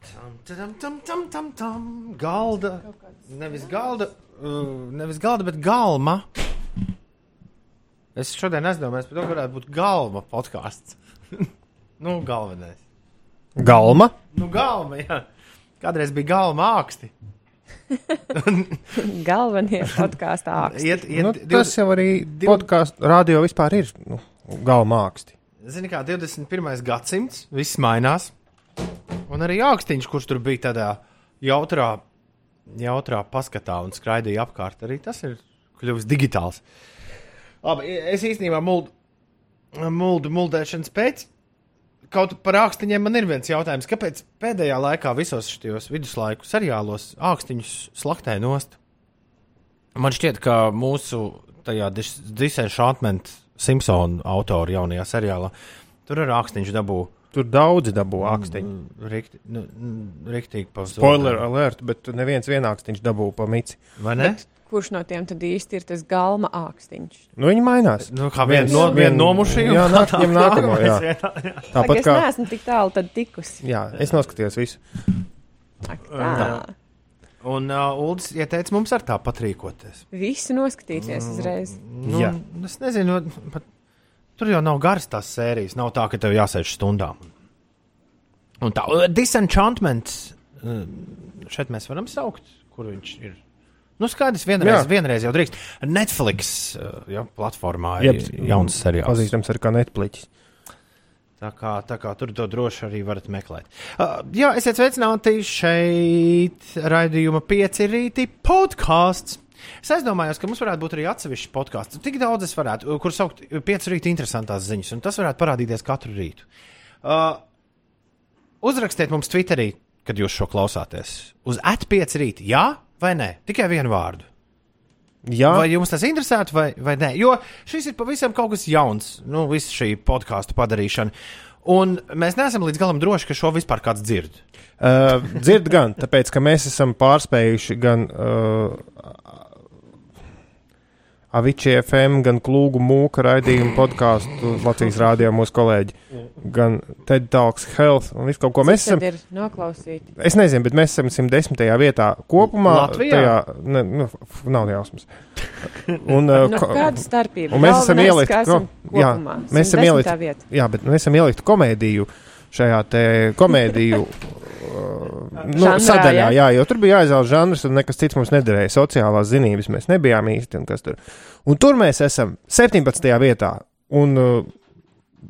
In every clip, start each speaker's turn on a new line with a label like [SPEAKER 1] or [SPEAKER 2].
[SPEAKER 1] Tam, tam, tam, tam, tam, tam. Galda. Nevis galda, uh, nevis galda, bet galma. Es šodien aizdomājos par to, ka varētu būt galma podkāsts. nu, galvenais.
[SPEAKER 2] Galma.
[SPEAKER 1] Nu, galma, jā. Kādreiz bija galma āksti.
[SPEAKER 3] Galvenie podkāstu ārsti.
[SPEAKER 1] Iet, iet,
[SPEAKER 2] Nu,
[SPEAKER 1] div-
[SPEAKER 2] tas jau arī podkāstu radio vispār ir nu, galma āksti.
[SPEAKER 1] Zini, kā 21. gadsimts, viss mainās. Un arī augstīns, kurš tur bija tādā jautrā, jautrā paskatā un skraidīja apkārt, arī tas ir kļuvis digitāls. Labi, e- es īstenībā muldu, muldu muldēšanas pēc. Kaut par ākstiņiem man ir viens jautājums. Kāpēc pēdējā laikā visos šajos viduslaiku seriālos ākstiņus slaktē nost? Man šķiet, ka mūsu tajā Disneylandā Simpsona autora jaunajā seriālā tur ir ākstiņš dabū.
[SPEAKER 2] Tur daudzi dabū
[SPEAKER 1] Mm,
[SPEAKER 2] ākstiņu.
[SPEAKER 1] Riktīgi, nu, mm, riktīgi pa zelta.
[SPEAKER 2] Spoiler alert, bet neviens vienākstiņš dabū pa mici.
[SPEAKER 1] Vai ne?
[SPEAKER 3] Kurš no tiem tad īsti ir tas galma ākstiņš?
[SPEAKER 2] Nu, viņi mainās.
[SPEAKER 1] Nu, kā viens no, vien, nomušīja.
[SPEAKER 2] Jā, nāk, ņem nākamo. Jā.
[SPEAKER 1] jā.
[SPEAKER 3] Ak,
[SPEAKER 2] Tāpat
[SPEAKER 3] es
[SPEAKER 2] kā.
[SPEAKER 3] neesmu tik tālu tad tikusi.
[SPEAKER 2] Jā, es noskatījos visu.
[SPEAKER 3] Ak, tā.
[SPEAKER 1] Un uh, Ulas ieteica mums ar tā patrīkoties.
[SPEAKER 3] Visu noskatīties
[SPEAKER 2] Mm.
[SPEAKER 3] uzreiz.
[SPEAKER 1] Nu,
[SPEAKER 2] Jā.
[SPEAKER 1] Es nezinu, pat, tur jau nav garas tās sērijas. Nav tā, ka tev jāsēž stundām. Un tā, uh, disenchantments. uh, Šeit mēs varam saukt, kur viņš ir. Nu, skaidrs, vienreiz,
[SPEAKER 2] Jā.
[SPEAKER 1] vienreiz jau drīkst. Netflix uh, jā, platformā ir
[SPEAKER 2] Jeb-
[SPEAKER 1] jauns seriāls.
[SPEAKER 2] Pazīstams ar kā netpliķis.
[SPEAKER 1] Tā kā, tā kā tur to droši arī varat meklēt. Uh, jā, esiet sveicināti šeit, raidījuma pieci rīti podkāsts. Es aizdomājos, ka mums varētu būt arī atsevišķs podkāsts. Tik daudz es varētu, uh, kur saukt uh, pieci rīti interesantās ziņas, un tas varētu parādīties katru rītu. Uh, uzrakstiet mums Twitterī, kad jūs šo klausāties. Uz atpieci rīti, jā vai nē? Tikai vienu vārdu.
[SPEAKER 2] Jā,
[SPEAKER 1] Vai jums tas interesētu, vai, vai nē? Jo šis ir pavisam kaut kas jauns, nu, visa šī podkāstu padarīšana. Un mēs neesam līdz galam droši, ka šo vispār kāds dzird.
[SPEAKER 2] Uh, dzird gan, tāpēc, ka mēs esam pārspējuši gan uh, Avicii FM, gan Klūgu mūka raidījumu podkāstu Latvijas rādījumā mūsu kolēģi, gan TED Talks Health un visu kaut ko. Mēs esam,
[SPEAKER 3] Tad ir noklausīt.
[SPEAKER 2] es nezinu, bet mēs esam 110. vietā kopumā.
[SPEAKER 1] Latvijā?
[SPEAKER 2] Tajā, ne, nu, f- nav jausmas. Un, uh,
[SPEAKER 3] Nu,
[SPEAKER 2] ko-
[SPEAKER 3] kāda starpība?
[SPEAKER 2] un mēs esam
[SPEAKER 3] Galvenais,
[SPEAKER 2] ielikt
[SPEAKER 3] ka esam
[SPEAKER 2] ko- jā,
[SPEAKER 3] kopumā.
[SPEAKER 2] mēs esam
[SPEAKER 3] 110.
[SPEAKER 2] ielikt-
[SPEAKER 3] vieta.
[SPEAKER 2] jā, bet mēs esam ielikt komēdiju šajā te komēdiju. uh, Nu,
[SPEAKER 3] Žanrā,
[SPEAKER 2] sadaļā,
[SPEAKER 3] jā.
[SPEAKER 2] jā, jo tur bija jāizvēlas žanrs, un nekas cits mums nederēja. Sociālās zinības mēs nebijām īsti. Un, kas tur. un tur mēs esam 17. vietā. Un uh,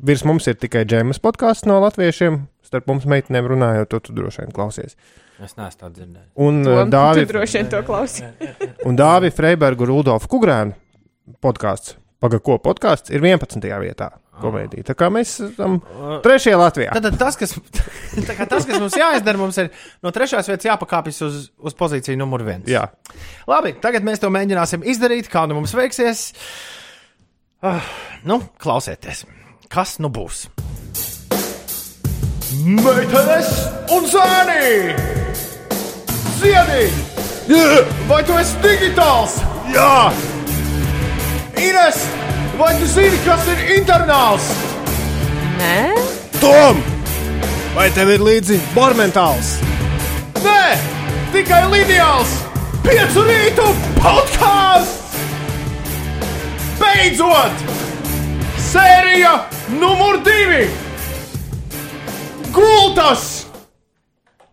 [SPEAKER 2] virs mums ir tikai džemas podkāsts no latviešiem. Starp mums meitenēm runājot, to tu droši vien klausies.
[SPEAKER 1] Es neesmu tādu dzirdējis.
[SPEAKER 2] Un
[SPEAKER 3] Tom,
[SPEAKER 2] uh,
[SPEAKER 3] tu
[SPEAKER 2] Dāvi,
[SPEAKER 3] droši vien to klausīt.
[SPEAKER 2] un Dāvi Freibergu un Rudolfu Kugrēnu podkāsts. Pagaidām, ko podkāsts ir 11. vietā komēdija. Tā kā mēs esam trešajā Latvijā.
[SPEAKER 1] Tad tas, kas, tā kā tas, kas mums jāizdara, mums ir no trešās vietas jāpakāpjas uz, uz pozīciju numur viens.
[SPEAKER 2] Jā,
[SPEAKER 1] Labi, tagad mēs to mēģināsim izdarīt, kā nu mums veiksies. Ah, Nu, klausieties, kas nu būs? Meitenes un zēni! Ziedi! Vai tu esi digitāls? Jā! Ines, vai tu zini, kas ir internāls?
[SPEAKER 3] Nē,
[SPEAKER 2] Tom! Vai tev ir līdzi bormentāls?
[SPEAKER 1] Nē, tikai lineāls! Piecu rītu podkāsts! Beidzot! Sērija numur divi! Gultas!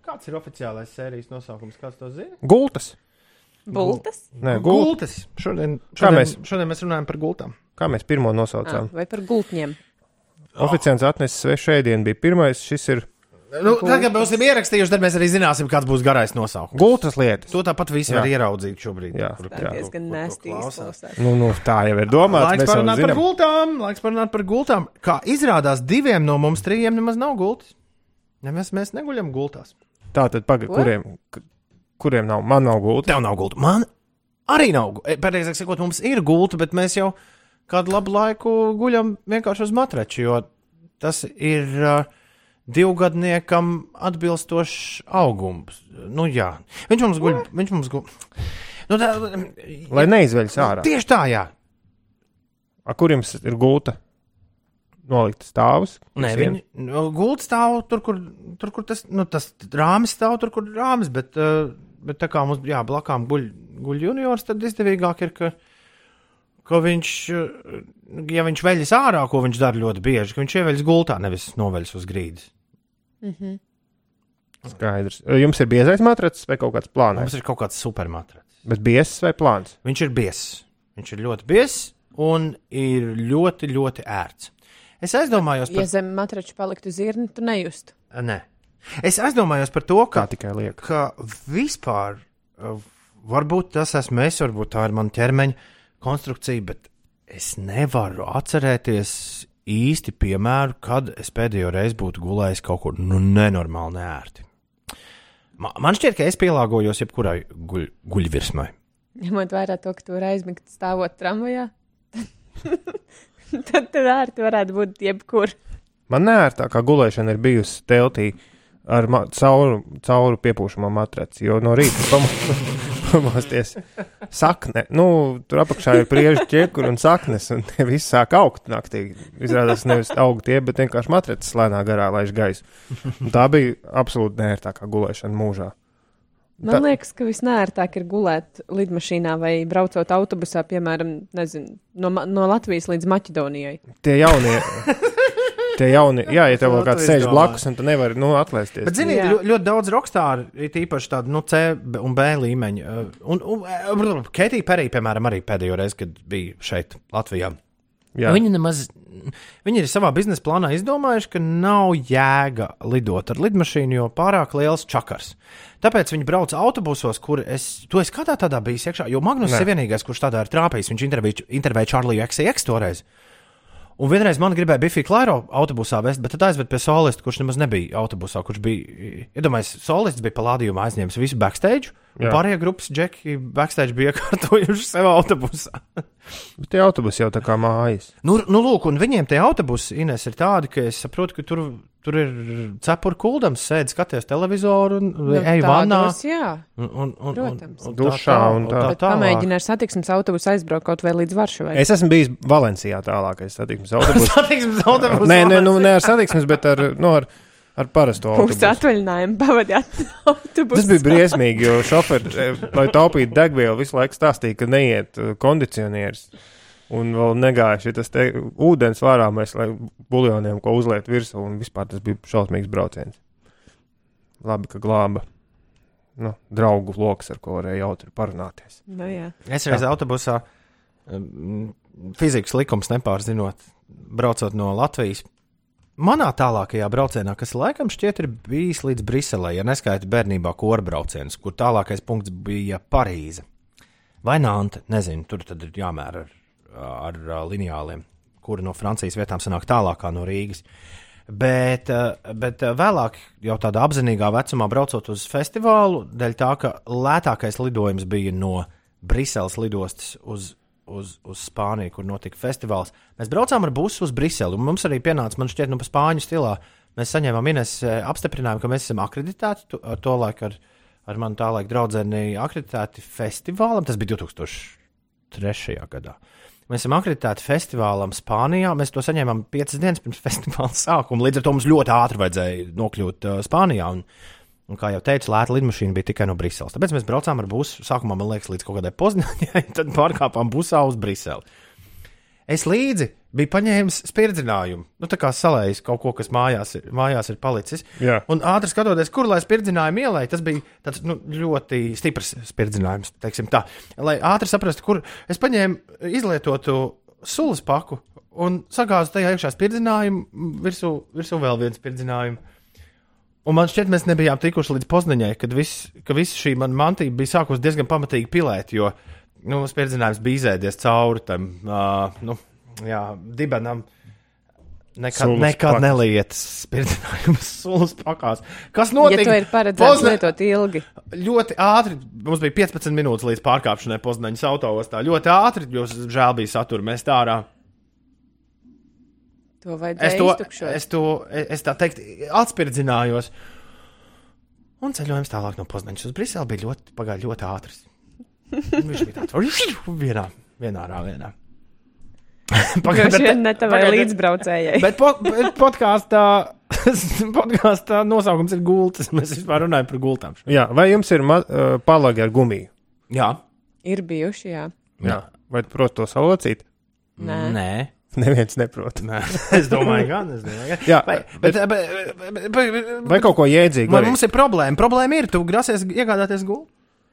[SPEAKER 1] Kāds ir oficiālais sērijas nosaukums? Kāds to zina?
[SPEAKER 2] Gultas.
[SPEAKER 3] bultas.
[SPEAKER 2] Nē, gultas.
[SPEAKER 1] Gultas! Šodien,
[SPEAKER 2] Kā
[SPEAKER 1] šodien, mēs?
[SPEAKER 2] mēs-
[SPEAKER 1] šodien mēs runājam par gultām.
[SPEAKER 2] Kā mēs pirmo
[SPEAKER 3] Ah,
[SPEAKER 2] nosaucām?
[SPEAKER 3] vai par gultņiem?
[SPEAKER 2] Oficiāls atnesis svešu ēdienu, bija pirmais. Šis ir
[SPEAKER 1] Nu, tagad, kad būsim ierakstījuši, tad mēs arī zināsim, kāds būs garais nosaukums.
[SPEAKER 2] gultas lietas.
[SPEAKER 1] To tāpat visi
[SPEAKER 2] Jā.
[SPEAKER 1] var ieraudzīt šobrīd.
[SPEAKER 2] Jā.
[SPEAKER 1] kur-
[SPEAKER 3] Tā
[SPEAKER 1] kur-
[SPEAKER 3] ir diezgan
[SPEAKER 1] kur- kur
[SPEAKER 3] nēstīgi
[SPEAKER 1] klausās.
[SPEAKER 3] izklausās.
[SPEAKER 2] Nu, nu, tā jau ir domāta.
[SPEAKER 1] Laiks
[SPEAKER 2] Mēs jau
[SPEAKER 1] parunāt par
[SPEAKER 2] zinām.
[SPEAKER 1] gultām. Laiks parunāt par gultām. Kā izrādās, diviem no mums trījiem nemaz nav gultas. Nemaz mēs neguļam gultās.
[SPEAKER 2] Tā tad pagaidi,
[SPEAKER 3] Ko?
[SPEAKER 2] kuriem, k- kuriem nav, man nav gultas.
[SPEAKER 1] Tev nav gulta. Man arī nav gulta. Pareizāk sakot, mums ir gulta, bet mēs jau kādu labu laiku guļam vienkārši uz matrača, jo tas ir uh, divgadniekam atbilstošs augums. Nu, jā, viņš mums guļ. Viņš mums guļ. Nu, tā,
[SPEAKER 2] Lai neizveļas ārā.
[SPEAKER 1] tieši tā, jā.
[SPEAKER 2] A, kur jums ir gulta? nolikt stāvus.
[SPEAKER 1] Nē,
[SPEAKER 2] Uz
[SPEAKER 1] viņi nu, gulda stāv tur, kur, tur, kur tas, nu, tas rāmis stāv, tur, kur rāmis. Bet, uh, bet tā kā mums jā, blakām guļ, guļ juniors, tad izdevīgāk ir, ka, ka viņš, uh, ja viņš veļas ārā, ko viņš dara ļoti bieži, ka viņš ieveļas gultā, nevis noveļas uz grīdas.
[SPEAKER 2] sienas. Skaidrs. Jums ir biezais matracis vai kaut kāds plāns?
[SPEAKER 1] Mums ir kaut kāds supermatracis.
[SPEAKER 2] Bet biezs vai plāns?
[SPEAKER 1] Viņš ir biezs. Viņš ir ļoti biezs un ir ļoti, ļoti ērts. Es aizdomājos
[SPEAKER 3] Ja
[SPEAKER 1] par,
[SPEAKER 3] zem matrača paliktu zirni, tu nejustu.
[SPEAKER 1] Nē. es aizdomājos par to,
[SPEAKER 2] Kā
[SPEAKER 1] ka
[SPEAKER 2] tikai liek.
[SPEAKER 1] ka vispār, uh, varbūt tas esmu es, varbūt tā ir mana ķermeņa konstrukcija, bet es nevaru atcerēties īsti piemēru, kad es pēdējo reizi būtu gulējis kaut kur nu, nenormāli nērti. Ma- Man šķiet, ka es pielāgojos jebkurai guļ, guļvirsmai.
[SPEAKER 3] Ņemot vērā to, ka tu vari aizmigt stāvot tramvajā, tad tev ērti varētu būt jebkur.
[SPEAKER 2] Man nērtākā gulēšana ir bijusi teltī ar ma- cauru, cauru piepūšamo matraci, jo no rīta pamo- pamosties sakne. Nu, tur apakšā ir priežu ķekuri un saknes, un tie visi sāk augt naktī. Izrādās nevis aug tie, bet vienkārši matracis lēnā garā laiž gaisu. Un tā bija absolūti nērtākā gulēšana mūžā.
[SPEAKER 3] Man
[SPEAKER 2] Tā-
[SPEAKER 3] liekas, ka visnērtāk ir gulēt lidmašīnā vai braucot autobusā, piemēram, nezinu, no, Ma- no Latvijas līdz Maķedonijai.
[SPEAKER 2] Tie jaunie. Tie jauni, jā, ja tev kaut kāds
[SPEAKER 1] Tu
[SPEAKER 2] sēž
[SPEAKER 1] izdomā.
[SPEAKER 2] blakus, un tu nevari, nu, atlaisties.
[SPEAKER 1] Bet, ziniet,
[SPEAKER 3] Jā.
[SPEAKER 1] ļo- ļoti daudz rokstāru, ir īpaši tādu nu, C b- un B līmeņu. uh, Un, un, un Keitija Perī, piemēram, arī pēdējo reizi, kad bija šeit, Latvijā.
[SPEAKER 2] jā.
[SPEAKER 1] Viņi, nemaz, viņi ir savā biznesa plānā izdomājuši, ka nav jēga lidot ar lidmašīnu, jo pārāk liels čakars. Tāpēc viņi brauc autobusos, kur es to es kādā tādā biju iekšā. Jo Magnus
[SPEAKER 2] Nē.
[SPEAKER 1] ir vienīgais, kurš tādā ir trāpījis. Viņš interviju- intervēja Čārliju Eksēju toreiz. Un vienreiz man gribēja Bifī Klairo autobusā vest, bet tad aizved pie solista, kurš nemaz nebija autobusā, kurš bija, iedomājieties, solists bija palādījumā aizņēmis visu backstage, un
[SPEAKER 2] Jā.
[SPEAKER 1] pārējie grupas džeki backstage bija iekārtojuši sev autobusā.
[SPEAKER 2] Bet tie autobusi jau tā kā mājas.
[SPEAKER 1] Nu, nu, lūk, un viņiem tie autobusi Ines, ir tādi, ka es saprotu, ka tur, tur ir cepura kuldams, sēdi skaties televizoru un nu, ej vannā.
[SPEAKER 3] tādos, jā,
[SPEAKER 1] Un, un, un, un,
[SPEAKER 3] Protams.
[SPEAKER 1] un
[SPEAKER 2] Dušā un tā.
[SPEAKER 3] bet pamēģini ar satiksmes autobusu aizbraukt kaut vai līdz Varšavai.
[SPEAKER 2] Es esmu bijis Valencijā tālākais satiksmes autobus.
[SPEAKER 1] Satiksmes autobusu.
[SPEAKER 2] nē, nē, nu, ne ar satiksmes, bet ar, nu, ar, ar parasto
[SPEAKER 3] Punkts
[SPEAKER 2] autobusu.
[SPEAKER 3] atvaļinājumu pavadījāt autobusā.
[SPEAKER 2] Tas bija briesmīgi, jo šoferi, eh, lai taupītu degvielu, visu laiku stāstīja, ka neiet eh, kondicionieris. Un vēl negāja šis te ūdens vārāmais, lai buļļoniem ko uzliet virsū. Un vispār tas bija šausmīgs brauciens. Labi, ka glāba. Nu, draugu lokus, ar ko varēja jautri parunāties.
[SPEAKER 3] Nu, jā.
[SPEAKER 1] Es reiz autobusā mm, fizikas likums nepārzinot, braucot no Latvijas. Manā tālākajā braucienā, kas laikam šķiet ir bijis līdz Briselē, ja neskaita bērnībā kora brauciens, kur tālākais punkts bija Parīze. Vai Nānta, nezinu, tur tad ir jāmēra ar, ar ā, lineāliem, kura no Francijas vietām sanāk tālākā no Rīgas. Bet, eh, bet eh, vēlāk, jau tādā apzinīgā vecumā, braucot uz festivālu, dēļ tā, ka lētākais lidojums bija no Briseles lidostas uz, uz, uz Spāniju, kur notika festivāls. Mēs braucām ar busu uz Briseli, un mums arī pienāca, man šķiet, nu, pa spāņu stilā. Mēs saņēmām Ines eh, apstiprinājumu, ka mēs esam akreditēti tu- ar to laiku, ar, ar manu tā laiku draugu akreditēti festivālam. Tas bija 2000 trešajā gadā. Mēs esam akreditēti festivālam Spānijā. Mēs to saņēmām piecas dienas pirms festivāla sākuma. Līdz ar to mums ļoti ātri vajadzēja nokļūt uh, Spānijā. Un, un, kā jau teicu, lēta lidmašīna bija tikai no Briseles. Tāpēc mēs braucām ar busu. Sākumā, man liekas, līdz kaut kādai Poznaņai, tad pārkāpām busā uz Briseli. Es līdzi biju paņēmis spirdzinājumu. Nu, tā kā salējis kaut ko, kas mājās ir, mājās ir palicis.
[SPEAKER 2] Jā.
[SPEAKER 1] Un ātri skatoties, kur lai spirdzinājumu ielai, tas bija tāds, nu, ļoti stiprs spirdzinājums. teiksim tā. Lai ātri saprastu, kur es paņēmu izlietotu sulas paku un sagāzu tajā iekšā spirdzinājumu, m, virsū, virsū vēl viens spirdzinājumu. Un man šķiet, mēs nebijām tikuši līdz Poznaņai, kad viss, ka visa šī mana mantība bija sākusi diezgan pamatīgi pilēt, jo nu, spirdzinājums bija izēdies cauri tam uh, nu, jā, dibenam. Nekad,
[SPEAKER 2] Sulas
[SPEAKER 1] nekad
[SPEAKER 2] pakas.
[SPEAKER 1] neliet spirdzinājumus sulas pakās. Kas
[SPEAKER 3] Ja
[SPEAKER 1] notika?
[SPEAKER 3] to ir paredzēts
[SPEAKER 1] Pozna-
[SPEAKER 3] lietot ilgi,
[SPEAKER 1] Ļoti ātri, mums bija 15 minūtes līdz pārkāpšanai Poznaņas autostāvā. Ļoti ātri, jo žēl bija satura mest ārā.
[SPEAKER 3] to
[SPEAKER 1] Es
[SPEAKER 3] vajadzēja
[SPEAKER 1] to,
[SPEAKER 3] iztukšot.
[SPEAKER 1] es to, es tā teikt, atspirdzinājos. Un ceļojums tālāk no Poznaņas uz Briseli bija ļoti, pagāja ļoti ātrs. Un Viņš bija tāds - vienā, vienā rāvienā.
[SPEAKER 3] Droši vien ne tavai
[SPEAKER 1] pagaid, bet-
[SPEAKER 3] līdzbraucējai.
[SPEAKER 1] Bet, po, bet podkāstā, podkāstā nosaukums ir gultas. Mēs vispār runājam par gultām. šodien.
[SPEAKER 2] Jā, vai jums ir ma- uh, palagi ar gumiju?
[SPEAKER 1] Jā,
[SPEAKER 3] Ir bijuši, jā.
[SPEAKER 1] Jā.
[SPEAKER 2] Vai tu prot to salocīt?
[SPEAKER 3] Nē.
[SPEAKER 1] nē.
[SPEAKER 2] Neviens neprot.
[SPEAKER 1] nē. es domāju, ka tas ir.
[SPEAKER 2] Jā,
[SPEAKER 1] Vai, bet, bet, bet, bet, bet,
[SPEAKER 2] Vai kaut ko jēdzīgu?
[SPEAKER 1] Man,
[SPEAKER 2] arī?
[SPEAKER 1] mums ir problēma. Problēma ir, tu grasies iegādāties gultu.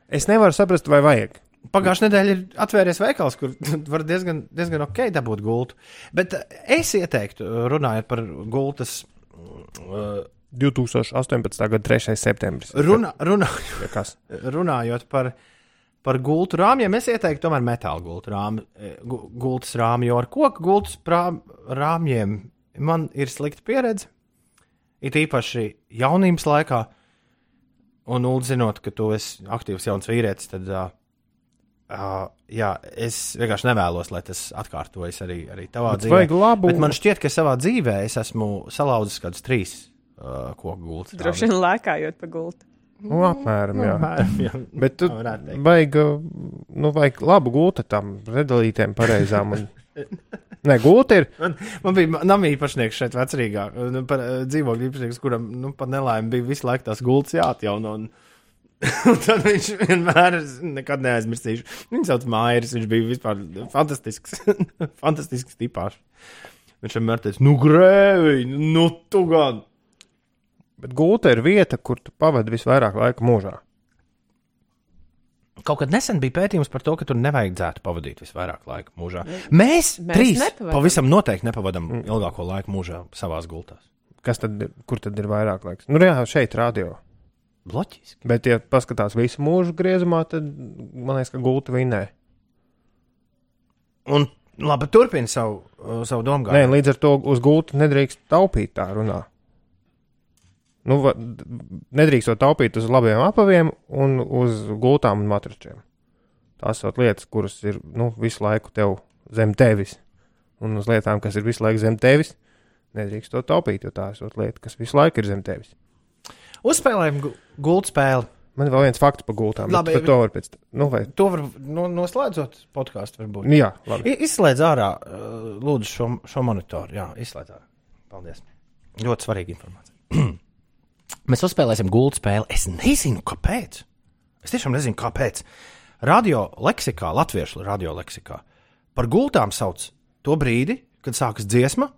[SPEAKER 2] Es nevaru saprast, vai vajag.
[SPEAKER 1] Pagājušā nedēļa ir atvērties veikals, kur var diezgan, diezgan ok dabūt gultu. Bet eh, es ieteiktu, runājot par gultas,
[SPEAKER 2] 2018. gada 3. septembris.
[SPEAKER 1] runā, runā,
[SPEAKER 2] Ja Kas?
[SPEAKER 1] runājot par, par gultu rāmjiem, es ieteiktu tomēr metāla gultu rāmu, eh, gu- gultas rāmju, jo ar koku gultas prām- rāmjiem man ir slikta pieredze. It īpaši jaunības laikā, un Ulu zinot, ka tu esi aktīvs jauns vīrietis, tad uh, uh, jā, es vienkārši nevēlos, lai tas atkārtojas arī, arī tavā bet dzīvē.
[SPEAKER 2] vajag labu-
[SPEAKER 1] Bet man šķiet, ka savā dzīvē es esmu salauzis kādus trīs uh, koku gultus.
[SPEAKER 3] Droši vien lēkājot pa gultu.
[SPEAKER 2] Nu, apmēram, jā.
[SPEAKER 1] vien.
[SPEAKER 2] Bet tu
[SPEAKER 1] Tā varētu teikt.
[SPEAKER 2] vajag, uh, nu, vajag labu gultu tam redalītēm pareizām. Un... Nē, gulti ir.
[SPEAKER 1] Man, man bija nama īpašnieks šeit, vecrīgā nu, par, eh, dzīvokļa īpašnieks, kuram nu, pat nelaime bija visu laiku tās gultas jāatjauno. Un, un tad viņš vienmēr, es nekad neaizmirsīšu, viņu sauc Mairis. Viņš bija vispār fantastisks, fantastisks tipāšs. Viņš vienmēr teica, nu, grēvi, nu, tu gan.
[SPEAKER 2] Bet gulta ir vieta, kur tu pavadi visvairāk laika mūžā.
[SPEAKER 1] Kaut kad nesen bija pētījums par to, ka tur nevajadzētu pavadīt visvairāk laika mūžā. Mēs,
[SPEAKER 3] Mēs
[SPEAKER 1] Mēs trīs
[SPEAKER 3] nepavadām.
[SPEAKER 1] pavisam noteikti nepavadām ilgāko laiku mūžā savā gultā.
[SPEAKER 2] Kas tad ir? Kur tad ir vairāk laiks? Nu, jā, šeit rādio.
[SPEAKER 1] Loģiski.
[SPEAKER 2] Bet, ja paskatās visu mūžu griezumā, tad man liekas, ka gulta vinē.
[SPEAKER 1] Un labi, turpini savu, uh, savu domu.
[SPEAKER 2] Nē,
[SPEAKER 1] Gārni.
[SPEAKER 2] līdz ar to uz gultu nedrīkst taupīt tā runā. Nu, va- d- nedrīkst to taupīt uz labiem apaviem un uz gultām un matračiem. Tās ir lietas, kuras ir nu, visu laiku tev zem tevis. Un uz lietām, kas ir visu laiku zem tevis, nedrīkst to taupīt, jo tās ir lietas, kas visu laiku ir zem tevis.
[SPEAKER 1] Uzspēlējam gu- gultu spēli.
[SPEAKER 2] Man ir vēl viens fakts par gultām.
[SPEAKER 1] Labi,
[SPEAKER 2] Labi, bet,
[SPEAKER 1] bet-
[SPEAKER 2] bet to var pēc tam. Nu, vai... nu,
[SPEAKER 1] To var no, noslēdzot podkāstu, varbūt.
[SPEAKER 2] Jā, labi.
[SPEAKER 1] I- Izslēdz ārā, uh, lūdzu, šo, šo monitoru. Jā, izslēdz ārā. Paldies. Ļoti svarīga informācija. Mēs uzspēlēsim gultu spēli. Es nezinu, kāpēc. Es tiešām nezinu, kāpēc. Radio leksikā, latviešu radio leksikā, par gultām sauc to brīdi, kad sākas dziesma.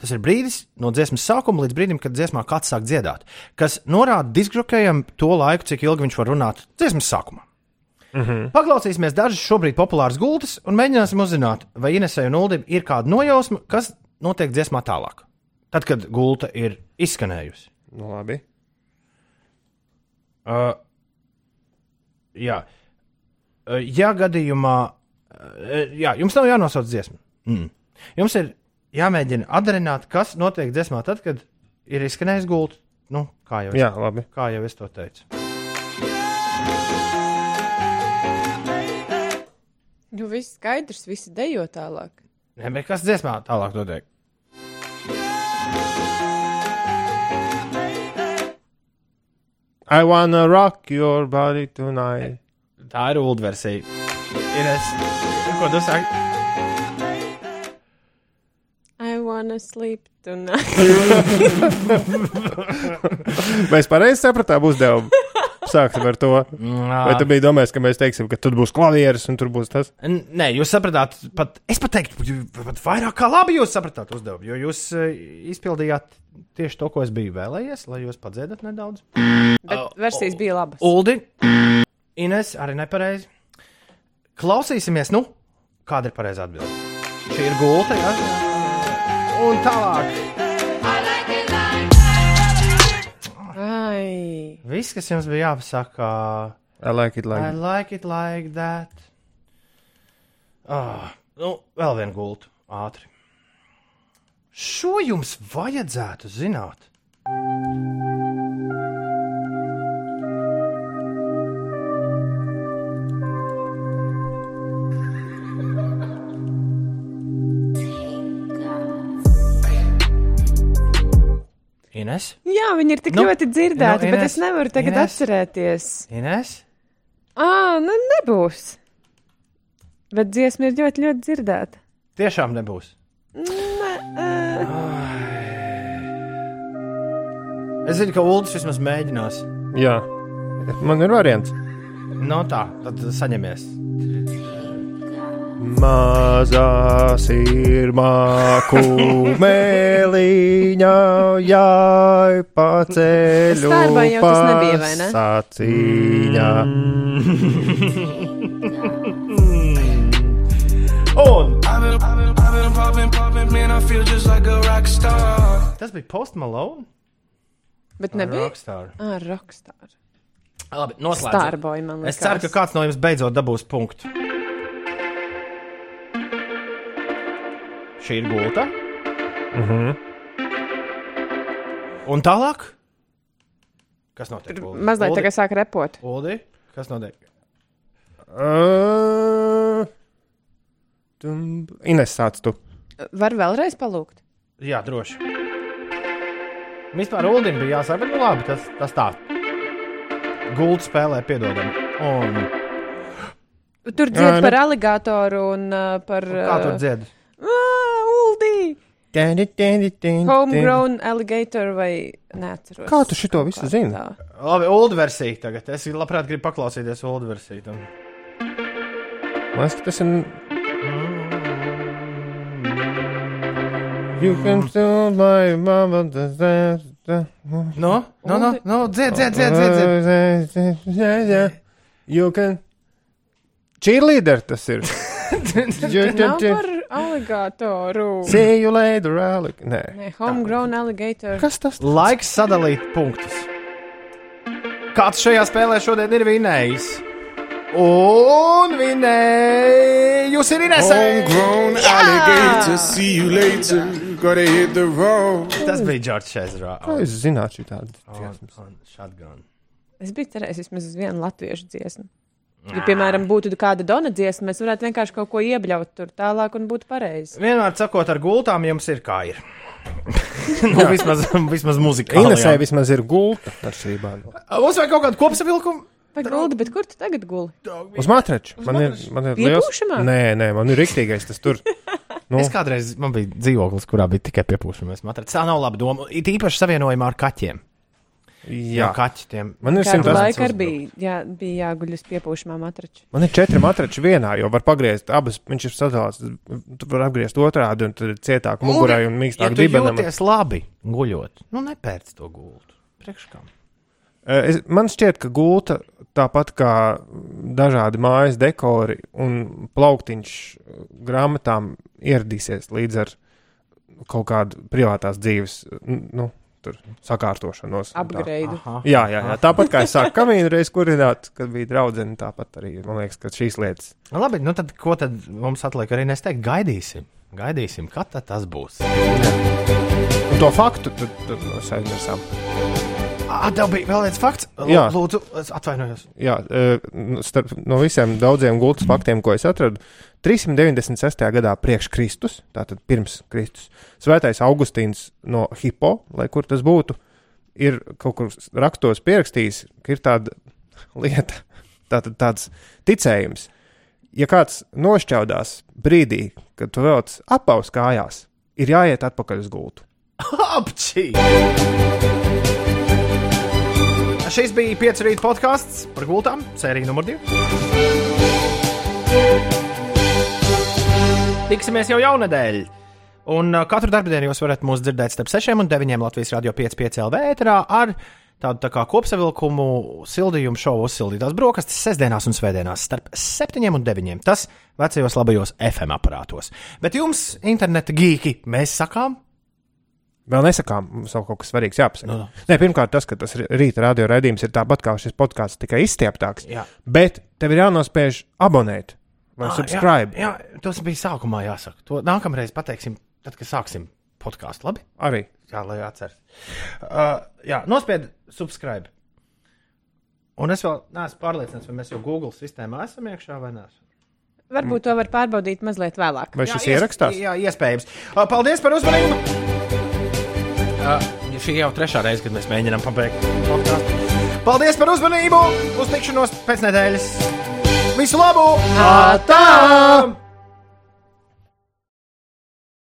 [SPEAKER 1] Tas ir brīdis no dziesmas sākuma līdz brīdim, kad dziesmā kāds sāk dziedāt, kas norāda diskžokējam to laiku, cik ilgi viņš var runāt dziesmas sākumā. Paklausīsimies dažas šobrīd populāras gultas un mēģināsim uzzināt, vai Inesai un Uldim ir kāda nojausma, kas notiek dziesmā tālāk. Tad, kad gulta ir izskanējusi.
[SPEAKER 2] Nu, labi.
[SPEAKER 1] Uh, jā, uh, ja gadījumā, uh, jā, jums nav jānosauc dziesma. Mm. Jums ir jāmēģina atdarināt, kas notiek dziesmā, tad, kad ir izskanējis gulta. Nu, kā jau es,
[SPEAKER 2] Jā, labi.
[SPEAKER 1] kā jau es to teicu.
[SPEAKER 3] Nu, viss skaidrs, visi dejo tālāk.
[SPEAKER 1] Nē, bet kas dziesmā tālāk notiek?
[SPEAKER 2] I wanna rock your body tonight.
[SPEAKER 1] Tā ir ULD versija. Ines, ko tu saki?
[SPEAKER 3] I wanna sleep tonight.
[SPEAKER 2] Mēs pareizi sapratām uzdevumu. Sāksim ar to. Vai tu biji domājis, ka mēs teiksim, ka tur būs klavieris un tur būs tas?
[SPEAKER 1] N- Nē, jūs sapratāt, pat, es pat teiktu, ju- pat vairāk kā labi jūs sapratāt uzdevumu, jo jūs eh, izpildījāt tieši to, ko es biju vēlējies, lai jūs padziedat nedaudz. Uh,
[SPEAKER 3] Bet
[SPEAKER 1] oh.
[SPEAKER 3] versijas bija labas.
[SPEAKER 1] Uldi, Ines, arī nepareizi. Klausīsimies, nu, kāda ir pareizā atbilde. Šī ir gulta, jā. Un tālāk.
[SPEAKER 3] Ai,
[SPEAKER 1] Viss, kas jums bija jāpasaka.
[SPEAKER 2] I like it
[SPEAKER 1] I
[SPEAKER 2] like that.
[SPEAKER 1] like it like that. Ah, nu, vēl viena gulta, ātri. Šo jums vajadzētu zināt. Ines?
[SPEAKER 3] jā, viņi ir tik
[SPEAKER 1] Nu,
[SPEAKER 3] nu, ļoti dzirdēti,
[SPEAKER 1] nu,
[SPEAKER 3] nu, bet
[SPEAKER 1] Ines,
[SPEAKER 3] es nevaru
[SPEAKER 1] Ines.
[SPEAKER 3] tagad Ines. atcerēties.
[SPEAKER 1] Ines?
[SPEAKER 3] Ā, nu nebūs. Bet dziesma ir ļoti, ļoti dzirdēta.
[SPEAKER 1] Tiešām nebūs. Es zinu, ka Ulas vismaz mēģinās.
[SPEAKER 2] Jā, man ir variants.
[SPEAKER 1] No tā, tad saņemies.
[SPEAKER 2] Mazā sirmā kumeliņā jāi
[SPEAKER 3] Es
[SPEAKER 2] paceļu
[SPEAKER 3] vērbai jau tas nebija, vai ne?
[SPEAKER 2] pasāciņā.
[SPEAKER 1] Un
[SPEAKER 4] I've been, I've been, I've been popping, popping, man. I feel just like a rock star.
[SPEAKER 1] tas bija Post Malone.
[SPEAKER 3] Bet nebija.
[SPEAKER 1] Rockstar.
[SPEAKER 3] Ar rokstāru.
[SPEAKER 1] Labi, noslēdzam.
[SPEAKER 3] Starboy, man liekas.
[SPEAKER 1] Es ceru, ka kāds no jums beidzot dabūs punktu. Šī ir gulta. Mhm. Un tālāk? Kas notiek? Uldi?
[SPEAKER 3] Mazliet
[SPEAKER 1] Uldi?
[SPEAKER 3] tagad sāk repot.
[SPEAKER 1] Uldi, kas notiek?
[SPEAKER 2] Ā, Uh, tum, Ines, sāc tu.
[SPEAKER 3] Var vēlreiz palūgt.
[SPEAKER 1] Jā, droši. Vispār Ulim bija jāsaka, bet nu labi, tas, tas tā. Gulda spēlē, piedodam. Un
[SPEAKER 3] Tur dzird
[SPEAKER 2] Ā, nu-
[SPEAKER 3] par aligatoru un uh, par.
[SPEAKER 1] kā tur
[SPEAKER 3] dzird?
[SPEAKER 1] dzied?
[SPEAKER 3] Uldī!
[SPEAKER 2] Homegrown.
[SPEAKER 3] Homegrown alligator vai neatceros.
[SPEAKER 2] Kā tu šito visu
[SPEAKER 3] Kā
[SPEAKER 2] zini?
[SPEAKER 3] tā.
[SPEAKER 1] Labi, Ulda versija tagad. Es labprāt gribu paklausīties Ulda versiju. Tam.
[SPEAKER 2] Man liekas, ka tas ir. You can tell my mama does that. that-
[SPEAKER 1] No, no, no,
[SPEAKER 3] Uldi-
[SPEAKER 1] no dzied, dzied, dzied, dzied, dzied.
[SPEAKER 2] Oh, Yeah, yeah. You can. Cheerleader tas ir. You can-
[SPEAKER 3] Nav par aligatoru.
[SPEAKER 2] See you later, Alec. Nē.
[SPEAKER 3] Nē, homegrown alligator.
[SPEAKER 2] Kas tas?
[SPEAKER 1] Laiks sadalīt punktus. Kāds šajā spēlē šodien ir vinējis? Un vinējis! Jūs ir Inês!
[SPEAKER 4] Homegrown alligator. See you later. Gotta hit the road.
[SPEAKER 1] Tas bija Džordžs Šezra.
[SPEAKER 2] Kā jūs zināt šī tāda?
[SPEAKER 1] Shotgun.
[SPEAKER 3] Es biju cerējis vismaz uz vienu latviešu dziesmu. Ja, piemēram, būtu kāda dona dziesma, mēs varētu vienkārši kaut ko iebļaut tur tālāk un būtu pareizi.
[SPEAKER 1] Vienmēr sakot, ar gultām jums ir kā ir. nu, vismaz, vismaz muzikā.
[SPEAKER 2] Inesē vismaz ir gulta ar šī bāda.
[SPEAKER 1] Mums vajag kaut kādu kopsavilkumu.
[SPEAKER 3] Vai guldi, bet kur tu tagad guli?
[SPEAKER 2] Uz matrača. Man ir, man ir liels.
[SPEAKER 3] Piepūšamā?
[SPEAKER 2] Nē, nē, man ir riktīgais tas tur. Nu.
[SPEAKER 1] Es kādreiz man bija dzīvoklis, kurā bija tikai piepūšamies matracis. Tā nav laba doma. It īpaši savienojumā ar kaķiem. Jā,
[SPEAKER 2] Jā.
[SPEAKER 1] kaķi tiem.
[SPEAKER 2] Man ir
[SPEAKER 3] Kādu
[SPEAKER 2] 100
[SPEAKER 3] laiku arī bija, jā, bija jāguļ uz piepūšamā matrača.
[SPEAKER 2] Man ir četri matrači vienā, jo var pagriezt abas. Viņš ir sadalīts, tu vari apgriezt otrādi, un tad ir cietāk mugurai un
[SPEAKER 1] ja
[SPEAKER 2] mīkstāk
[SPEAKER 1] tu
[SPEAKER 2] dibenam.
[SPEAKER 1] jūties labi guļot. Nu, nepērc to gultu. Priekškām.
[SPEAKER 2] Eh, es- Man šķiet, ka gulta, tāpat kā dažādi mājas dekori un plauktiņš eh, grāmatām, ieradīsies līdz ar kaut kādu privātās dzīves n- nu, tur sakārtošanos. un tā.
[SPEAKER 3] Upgrade.
[SPEAKER 2] Jā, jā, jā, tāpat kā es sāku kamīnu reiz kurināt, kad bija draudzene, tāpat arī man liekas, ka šīs lietas.
[SPEAKER 1] Labi, nu tad ko tad mums atliek arī nesteikt? Gaidīsim. Gaidīsim, kad tad tas būs.
[SPEAKER 2] Un to faktu tad, tad mēs aizmirsām.
[SPEAKER 1] Ah, tev bija vēl viens fakts. Lū-
[SPEAKER 2] Jā.
[SPEAKER 1] Lūdzu, es atvainojos.
[SPEAKER 2] Jā, e, nu, starp, no visiem daudziem gultas faktiem, ko es atradu, 396. gadā pirms Kristus, tātad pirms Kristus, Svētais Augustīns no Hipo, lai kur tas būtu, ir kaut kur s- rakstos pierakstījis, ka ir tāda lieta, tātad tāds ticējums. Ja kāds nošķaudās brīdī, kad tu velc apaus kājās, ir jāiet atpakaļ uz gultu.
[SPEAKER 1] Apčī! Šis bija 5 rīta podkāsts par gultām, sērija numur 2. Tiksimies jau jaunadēļ! Un uh, katru darbdienu jūs varat mūs dzirdēt starp 6 un 9 Latvijas radio 5,5 LV ēterā ar tādu tā kā kopsavilkumu sildījumu šovu uzsildītās brokastis sestdienās un svētdienās starp 7 un 9. Tas vecajos labajos FM aparātos. Bet jums, interneta gīki, mēs sakām,
[SPEAKER 2] Vēl nesakām, mums vēl kaut kas svarīgs jāpasaka. No. Nē, pirmkārt, tas, ka tas ri- rīta radio raidījums ir tāpat kā šis podkāsts, tikai izstieptāks.
[SPEAKER 1] Jā.
[SPEAKER 2] Bet tev ir jānospiež abonēt vai
[SPEAKER 1] Ah,
[SPEAKER 2] ah, subscribe. Jā, jā.
[SPEAKER 1] Jā, jā, tas bija sākumā jāsaka. To nākamreiz pateiksim, tad, kad sāksim podkāstu. Labi,
[SPEAKER 2] Arī.
[SPEAKER 1] jā, lai atceras. Uh, jā, nospied subscribe. Un es vēl neesmu pārliecināts, vai mēs jau Google sistēmā esam iekšā vai nē.
[SPEAKER 3] Varbūt to var pārbaudīt mazliet vēlāk.
[SPEAKER 2] Vai šis ierakstās?
[SPEAKER 1] Jā, iespējams. Uh, paldies par uzmanību! Uh, šī jau trešā reize, kad mēs mēģinām pabeigt podkāstu. Paldies par uzmanību! Uz tikšanos pēc nedēļas!
[SPEAKER 2] Visu labu!
[SPEAKER 1] Tā!